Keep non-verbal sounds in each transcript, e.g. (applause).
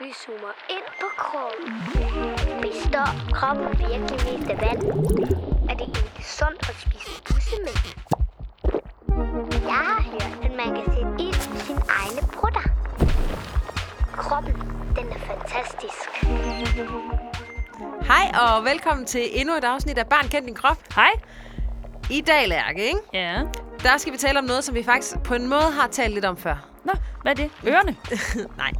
Vi zoomer ind på kroppen. Består kroppen virkelig mest af vand? Er det egentlig sundt at spise bussemænd? Jeg har hørt, at man kan sætte ild i sin egne brutter. Kroppen, den er fantastisk. Hej og velkommen til endnu et afsnit af Barn kendt din krop. Hej. I dag, Lærke, ikke? Ja. der skal vi tale om noget, som vi faktisk på en måde har talt lidt om før. (laughs) Nå, hvad er det? Ørerne? Nej.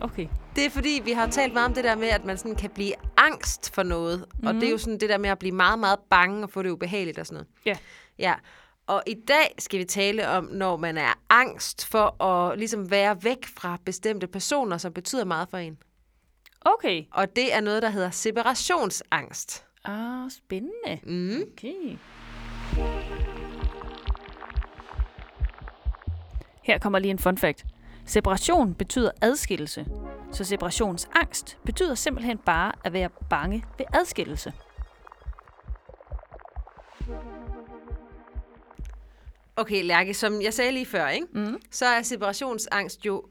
Okay. Det er fordi, vi har talt meget om det der med, at man sådan kan blive angst for noget. Mm. Og det er jo sådan det der med at blive meget, meget bange og få det ubehageligt og sådan noget. Ja. Ja. Og i dag skal vi tale om, når man er angst for at ligesom være væk fra bestemte personer, som betyder meget for en. Okay. Og det er noget, der hedder separationsangst. Ah, spændende. Mm. Okay. Her kommer lige en fun fact. Separation betyder adskillelse. Så separationsangst betyder simpelthen bare at være bange ved adskillelse. Okay, Lærke, som jeg sagde lige før, ikke? Mm. så er separationsangst jo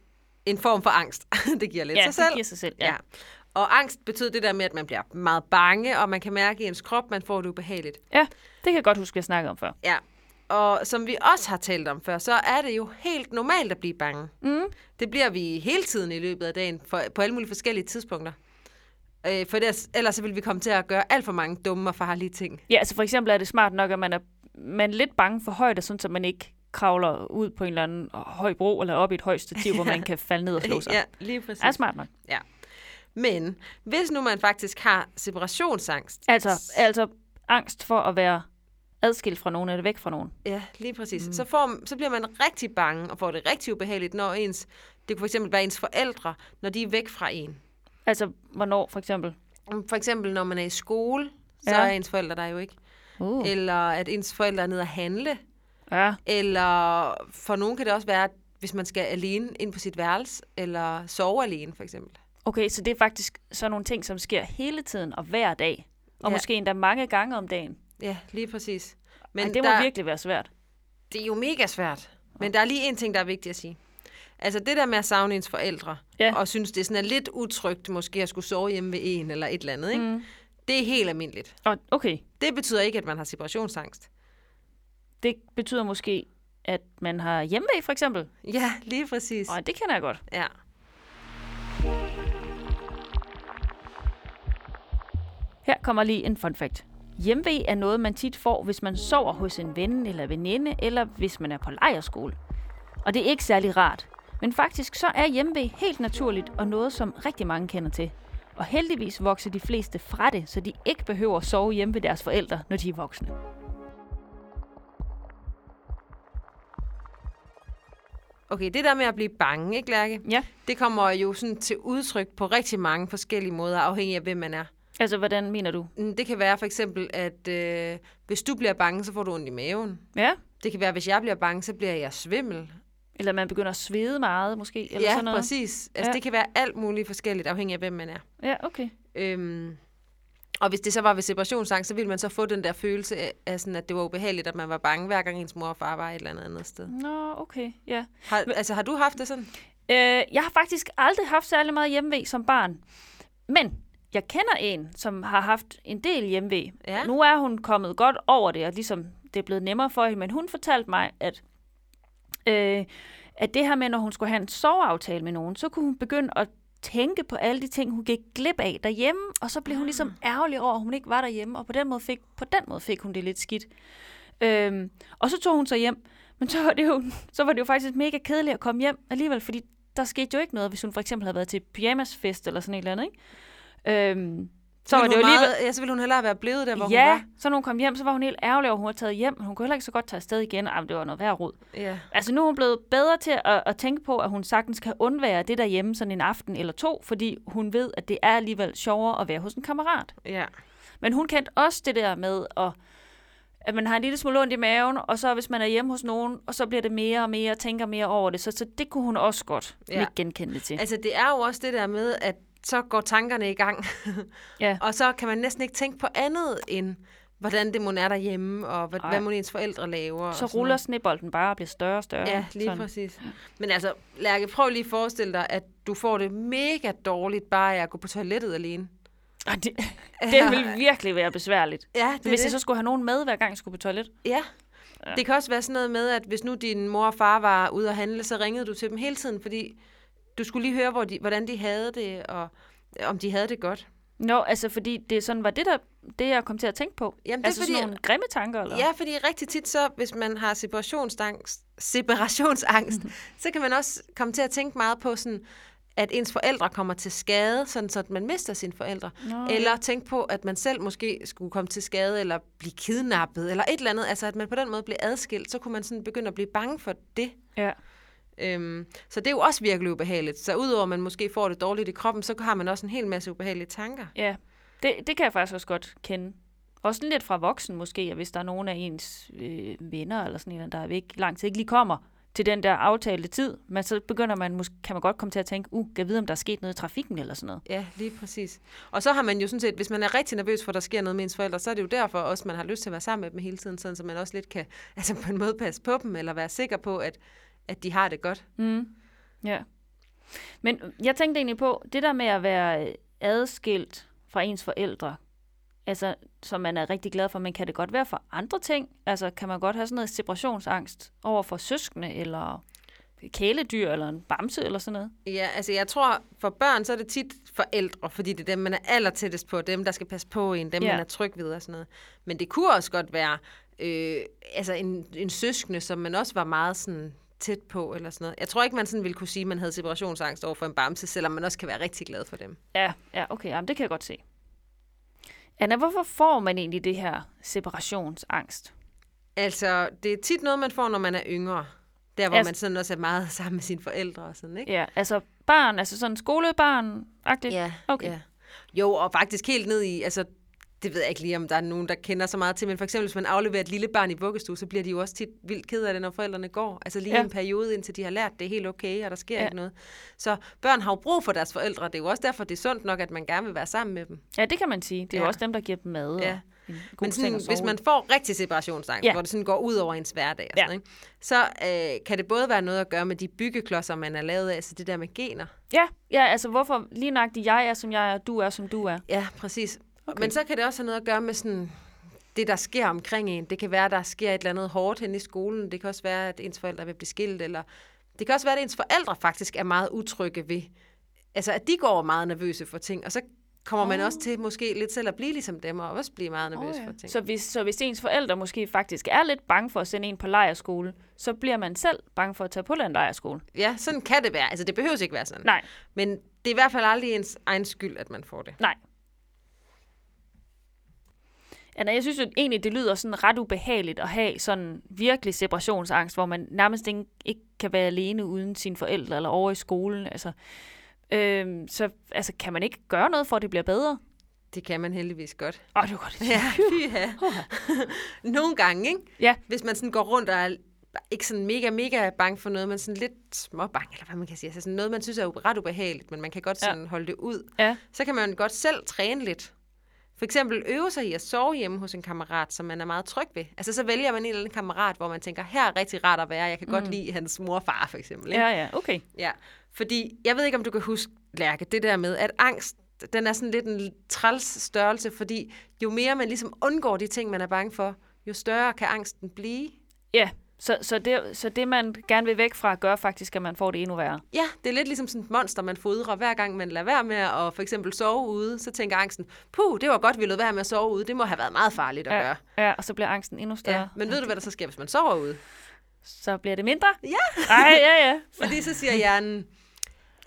en form for angst. (laughs) det giver lidt Ja, sig det selv. giver sig selv. Ja. ja. Ja. Og angst betyder det der med, at man bliver meget bange, og man kan mærke i ens krop, man får det ubehageligt. ja, det kan jeg godt huske, vi har snakket om før. Ja. Og som vi også har talt om før, så er det jo helt normalt at blive bange. Mm. Det bliver vi hele tiden i løbet af dagen, for, på alle mulige forskellige tidspunkter. Øh, for ellers, ellers så vil vi komme til at gøre alt for mange dumme og farlige ting. Ja, altså for eksempel er det smart nok, at man er, man er lidt bange for højder, sådan så man ikke kravler ud på en eller anden høj bro eller op i et højt (laughs) stativ, hvor man kan falde ned og slå sig. Ja, lige præcis. Er smart nok. Ja. Men hvis nu man faktisk har separationsangst, Altså, altså angst for at være adskilt fra nogen eller væk fra nogen. Ja, lige præcis. Mm. Så, får, så bliver man rigtig bange og får det rigtig ubehageligt, når ens, det kunne fx være ens forældre, når de er væk fra en. Altså, hvornår for eksempel? Mm, For eksempel, når man er i skole, så ja. Ja. er ens forældre der jo ikke. Uh. Uh. Eller at ens forældre er nede at handle. Ja, Eller for nogen kan det også være, at hvis man skal alene ind på sit værelse, eller sove alene for eksempel. okay, så det er faktisk sådan nogle ting, som sker hele tiden og hver dag. Og Ja. ja. måske endda mange gange om dagen. Ja, lige præcis. Men Ej, det må der, der... virkelig være svært. det er jo mega svært. Men der er lige en ting, der er vigtig at sige. Altså det der med at savne ens forældre, Ja. og synes, det sådan er lidt utrygt måske at skulle sove hjemme ved en eller et eller andet, ikke? Mm. det er helt almindeligt. Og okay, Det betyder ikke, at man har separationsangst. det betyder måske, at man har hjemmevæg for eksempel. Ja, lige præcis. Og det kender jeg godt. Ja. Her kommer lige en fun fact. Hjemve er noget, man tit får, hvis man sover hos en ven eller veninde, eller hvis man er på lejerskole. Og det er ikke særlig rart. Men faktisk så er hjemve helt naturligt og noget, som rigtig mange kender til. Og heldigvis vokser de fleste fra det, så de ikke behøver at sove hjemme ved deres forældre, når de er voksne. Okay, det der med at blive bange, ikke Lærke? Ja. Det kommer jo sådan til udtryk på rigtig mange forskellige måder, afhængig af hvem man er. Altså, hvordan mener du? Mm, Det kan være for eksempel, at øh, hvis du bliver bange, så får du ondt i maven. Ja. Det kan være, at hvis jeg bliver bange, så bliver jeg svimmel. Eller man begynder at svede meget, måske? Eller ja, sådan noget. præcis. Altså, ja. Ja. Det kan være alt muligt forskelligt, afhængig af hvem man er. Ja, okay. Øhm, og hvis det så var ved separationsangst, så ville man så få den der følelse af- af, sådan, at det var ubehageligt, at man var bange, hver gang ens mor og far var et eller andet andet sted. Nå, okay, ja. Har, altså, har du haft det sådan? Øh, jeg har faktisk aldrig haft særlig meget hjemve som barn. Men jeg kender en, som har haft en del hjemve. Ja. Nu er hun kommet godt over det, og ligesom det er blevet nemmere for hende. Men hun fortalte mig, at, øh, at det her med, når hun skulle have en soveaftale med nogen, så kunne hun begynde at tænke på alle de ting, hun gik glip af derhjemme, og så blev hun ligesom Ah. ærgerlig over, at hun ikke var derhjemme, og på den måde fik, på den måde fik hun det lidt skidt. Øhm, og så tog hun sig hjem, men så var, det jo, så var det jo faktisk mega kedeligt at komme hjem alligevel, fordi der skete jo ikke noget, hvis hun for eksempel havde været til pyjamasfest eller sådan et eller andet, ikke? Øhm, så var ville det jo hun alligevel... meget, Ja, så ville hun hellere være blevet der, hvor hun Ja, var. så når hun kom hjem, så var hun helt ærgerlig over, at hun var taget hjem, men hun kunne heller ikke så godt tage afsted igen. Ej, men det var noget værd rod. Ja. Altså nu er hun blevet bedre til at, at tænke på, at hun sagtens kan undvære det derhjemme sådan en aften eller to, fordi hun ved, at det er alligevel sjovere at være hos en kammerat. ja. Men hun kendte også det der med, at, at man har en lille smule ondt i maven, og så hvis man er hjemme hos nogen, og så bliver det mere og mere, og tænker mere over det. Så, så det kunne hun også godt Ja. ja. genkende det til. Altså, det er jo også det der med, at så går tankerne i gang, Ja. og så kan man næsten ikke tænke på andet end, hvordan det må er derhjemme, og hvad, Ej. hvad må ens forældre laver. og Så sådan ruller snebolden bare og bliver større og større. Ja, lige Sådan. sådan. præcis. Men altså, Lærke, prøv lige at forestille dig, at du får det mega dårligt bare af at gå på toilettet alene. Og (laughs) det, det vil virkelig være besværligt. Ja, det er Hvis det. jeg så skulle have nogen med, hver gang jeg skulle på toilet. Ja. ja. Det kan også være sådan noget med, at hvis nu din mor og far var ude at handle, så ringede du til dem hele tiden, fordi du skulle lige høre, hvor de, hvordan de havde det, og om de havde det godt. Nå, altså fordi det sådan var det, der, det jeg kom til at tænke på. Jamen, det er altså sådan fordi- nogle grimme tanker, eller? Ja, fordi rigtig tit så, hvis man har separationsangst, separationsangst så kan man også komme til at tænke meget på sådan, at ens forældre kommer til skade, sådan så at man mister sine forældre. Nå. Eller tænke på, at man selv måske skulle komme til skade, eller blive kidnappet, eller et eller andet. Altså, at man på den måde blev adskilt, så kunne man sådan begynde at blive bange for det. ja. Øhm, så det er jo også virkelig ubehageligt. Så udover at man måske får det dårligt i kroppen, så har man også en hel masse ubehagelige tanker. Ja, det, det kan jeg faktisk også godt kende. Også lidt fra voksen måske, og hvis der er nogen af ens øh, venner eller sådan en, der er væk lang tid, ikke lige kommer til den der aftalte tid, men så begynder man, mås- kan man godt komme til at tænke, uh, kan jeg vide, om der er sket noget i trafikken eller sådan noget. Ja, lige præcis. Og så har man jo sådan set, hvis man er rigtig nervøs for, at der sker noget med ens forældre, så er det jo derfor også, man har lyst til at være sammen med dem hele tiden, sådan så man også lidt kan (laughs) altså på en måde passe på dem, eller være sikker på, at, at de har det godt. Ja. Men jeg tænkte egentlig på, det der med at være øh, adskilt fra ens forældre, altså, som man er rigtig glad for, men kan det godt være for andre ting? Altså, kan man godt have sådan noget separationsangst over for søskende, eller kæledyr, eller en bamse, eller sådan noget? Ja, altså jeg tror, for børn, så er det tit forældre, fordi det er dem, man er allertættest på, dem, der skal passe på en, dem, Ja. man er tryg ved og sådan noget. Men det kunne også godt være øh, altså en, en søskende, som man også var meget sådan tæt på eller sådan noget. Jeg tror ikke, man sådan ville kunne sige, at man havde separationsangst over for en bamse, selvom man også kan være rigtig glad for dem. Ja, ja okay, jamen, det kan jeg godt se. Anna, hvorfor får man egentlig det her separationsangst? Altså, det er tit noget, man får, når man er yngre. Der, hvor Altså- altså, man sådan også er meget (laughs) sammen med sine forældre og sådan, ikke? Ja, altså barn, altså sådan skolebarn-agtigt? Ja, Okay. ja. Jo, og faktisk helt ned i, altså, det ved jeg ikke lige, om der er nogen, der kender så meget til, men for eksempel, hvis man afleverer et lille barn i vuggestue, så bliver de jo også tit vildt ked af det, når forældrene går. Altså lige Ja. ja. en periode, indtil de har lært, det er helt okay, og der sker Ja. ja. ikke noget. Så børn har jo brug for deres forældre, det er jo også derfor, det er sundt nok, at man gerne vil være sammen med dem. ja, det kan man sige. Det er ja. Ja. også dem, der giver dem mad ja. Ja. og en god Men seng sådan, at sove hvis i. man får rigtig separationsangst, Ja. ja. hvor det sådan går ud over ens hverdag, og Ja. sådan, ikke? så øh, kan det både være noget at gøre med de byggeklodser, man er lavet af, så det der med gener. Ja, ja, altså hvorfor lige nøjagtigt jeg er, som jeg er, og du er, som du er. Ja, præcis. Okay. Men så kan det også have noget at gøre med sådan, det, der sker omkring en. Det kan være, der sker et eller andet hårdt hen i skolen. Det kan også være, at ens forældre vil blive skilt. Eller det kan også være, at ens forældre faktisk er meget utrygge ved. Altså, at de går og er meget nervøse for ting. Og så kommer man også til måske lidt selv at blive ligesom dem, og også blive meget nervøs oh, Ah. ja. for ting. Så hvis, så hvis ens forældre måske faktisk er lidt bange for at sende en på lejerskole, så bliver man selv bange for at tage på den lejerskole. Ja, sådan kan det være. Altså, det behøver ikke være sådan. Nej, Men det er i hvert fald aldrig ens egen skyld, at man får det. nej. Anna, jeg synes jo egentlig, det lyder sådan ret ubehageligt at have sådan virkelig separationsangst, hvor man nærmest ikke, ikke kan være alene uden sine forældre eller over i skolen. Altså, øhm, så altså, kan man ikke gøre noget for, at det bliver bedre? Det kan man heldigvis godt. Åh, oh, det var godt. Ja, (laughs) ja. Nogle gange, ikke? ja. hvis man sådan går rundt og er ikke sådan mega, mega bange for noget, men sådan lidt småbange, eller hvad man kan sige. Altså sådan noget, man synes er ube- ret ubehageligt, men man kan godt sådan ja. holde det ud. ja. Så kan man godt selv træne lidt. For eksempel øve sig i at sove hjemme hos en kammerat, som man er meget tryg ved. Altså så vælger man en eller anden kammerat, hvor man tænker, her er rigtig rart at være, jeg kan mm. godt lide hans mor og far for eksempel. Ikke? Ja, ja, okay. Ja, fordi jeg ved ikke, om du kan huske, Lærke, det der med, at angst, den er sådan lidt en træls størrelse, fordi jo mere man ligesom undgår de ting, man er bange for, jo større kan angsten blive. Ja, så, så, det, så det, man gerne vil væk fra, gør faktisk, at man får det endnu værre. Ja, det er lidt ligesom sådan et monster, man fodrer hver gang, man lader være med at for eksempel sove ude. Så tænker angsten, puh, det var godt, vi lod være med at sove ude. Det må have været meget farligt at gøre. Ja, ja, og så bliver angsten endnu større. Ja, men ved du, hvad der så sker, hvis man sover ude? Så bliver det mindre? Ja, Nej, ja, ja. fordi så siger hjernen,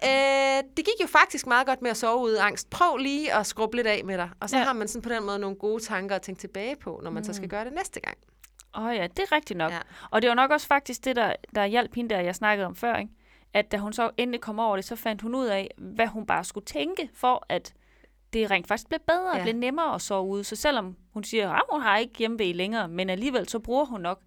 øh, det gik jo faktisk meget godt med at sove ude, angst. Prøv lige at skrubbe lidt af med dig. Og så Ja. Mm. ja. har man sådan på den måde nogle gode tanker at tænke tilbage på, når man så skal gøre det næste gang. Åh oh, ja, det er rigtigt nok. Ja. Ja. Og det var nok også faktisk det, der, der hjalp hende der, jeg snakkede om før, ikke? at da hun så endelig kom over det, så fandt hun ud af, hvad hun bare skulle tænke for, at det rent faktisk blev bedre og Ja. blev nemmere at sove ude. Så selvom hun siger, at hun har ikke hjemme længere, men alligevel så bruger hun nok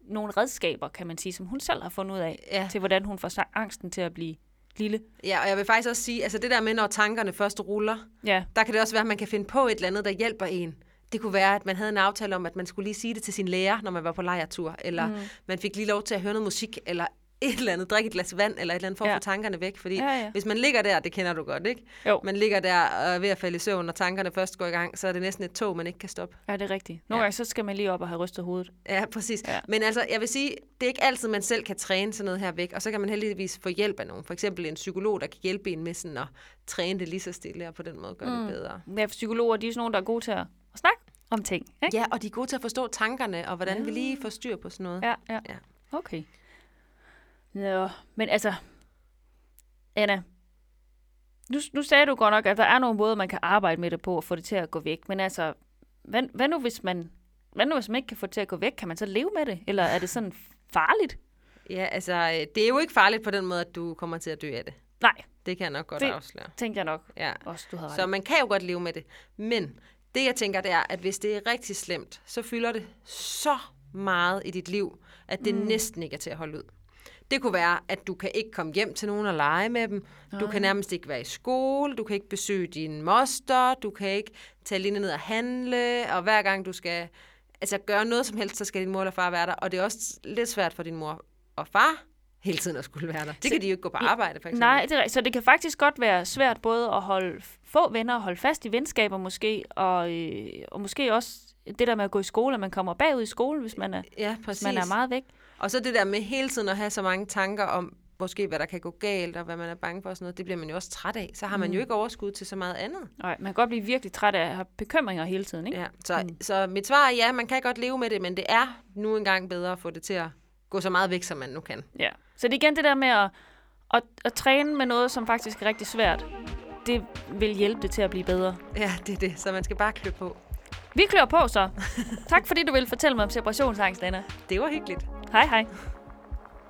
nogle redskaber, kan man sige, som hun selv har fundet ud af, Ja. til hvordan hun får sa- angsten til at blive lille. Ja, og jeg vil faktisk også sige, altså det der med, når tankerne først ruller, Ja, der kan det også være, at man kan finde på et eller andet, der hjælper en. Det kunne være, at man havde en aftale om, at man skulle lige sige det til sin lærer, når man var på lejertur, eller mm. man fik lige lov til at høre noget musik, eller et eller andet, drikke et glas vand, eller et eller andet for ja. Ja. at få tankerne væk. Fordi Ja, ja. hvis man ligger der, det kender du godt, ikke? Jo. Man ligger der og er ved at falde i søvn, og tankerne først går i gang, så er det næsten et tog, man ikke kan stoppe. Ja, det er rigtigt. Nogle Ja. ja. gange så skal man lige op og have rystet hovedet. Ja, præcis. Ja. Ja. Men altså, jeg vil sige, det er ikke altid, man selv kan træne sådan noget her væk, og så kan man heldigvis få hjælp af nogen. For eksempel en psykolog, der kan hjælpe en med sådan at træne det lige så stille, og på den måde gøre mm. det bedre. Ja, for psykologer, de er sådan nogle, der er gode til at at snakke om ting. Ikke? Ja, og de er gode til at forstå tankerne, og hvordan ja. vi lige får styr på sådan noget. Ja, ja. Mm. Ja. Okay. Nå, men altså, Anna, nu, nu sagde du godt nok, at der er nogle måder, man kan arbejde med det på og få det til at gå væk. Men altså, hvad, hvad, nu, hvis man, hvad nu hvis man ikke kan få det til at gå væk? Kan man så leve med det? Eller er det sådan farligt? ja, altså, øh, det er jo ikke farligt på den måde, at du kommer til at dø af det. Nej, Det kan jeg nok godt det. Det- afsløre. tænker jeg nok Ja. også, du havde Så ret. i. man kan jo godt leve med det. Men det, jeg tænker, det er, at hvis det er rigtig slemt, så fylder det så meget i dit liv, at det mm. næsten ikke er til at holde ud. Det kunne være, at du kan ikke komme hjem til nogen og lege med dem. Du kan nærmest ikke være i skole. Du kan ikke besøge din moster. Du kan ikke tage Line ned og handle. Og hver gang du skal altså, gøre noget som helst, så skal din mor eller far være der. Og det er også lidt svært for din mor og far hele tiden at skulle være der. Det kan de jo ikke gå på arbejde, for eksempel. Nej, det er, rigtigt. så det kan faktisk godt være svært både at holde få venner og holde fast i venskaber måske, og, øh, og måske også det der med at gå i skole, at man kommer bagud i skolen, hvis man er, Ja, hvis præcis. man er meget væk. Og så det der med hele tiden at have så mange tanker om, måske hvad der kan gå galt, og hvad man er bange for og sådan noget, det bliver man jo også træt af. Så har man jo ikke overskud til så meget andet. Nej, man kan godt blive virkelig træt af at have bekymringer hele tiden, ikke? Ja, så, mm. så mit svar er ja, man kan godt leve med det, men det er nu engang bedre at få det til at gå så meget væk, som man nu kan. Ja. Så det er igen det der med at, at, at træne med noget, som faktisk er rigtig svært. Det vil hjælpe det til at blive bedre. Ja, det er det. Så man skal bare klø på. Vi klør på (laughs) så. Tak fordi du ville fortælle mig om separationsangst, Anna. Det var hyggeligt. Hej hej.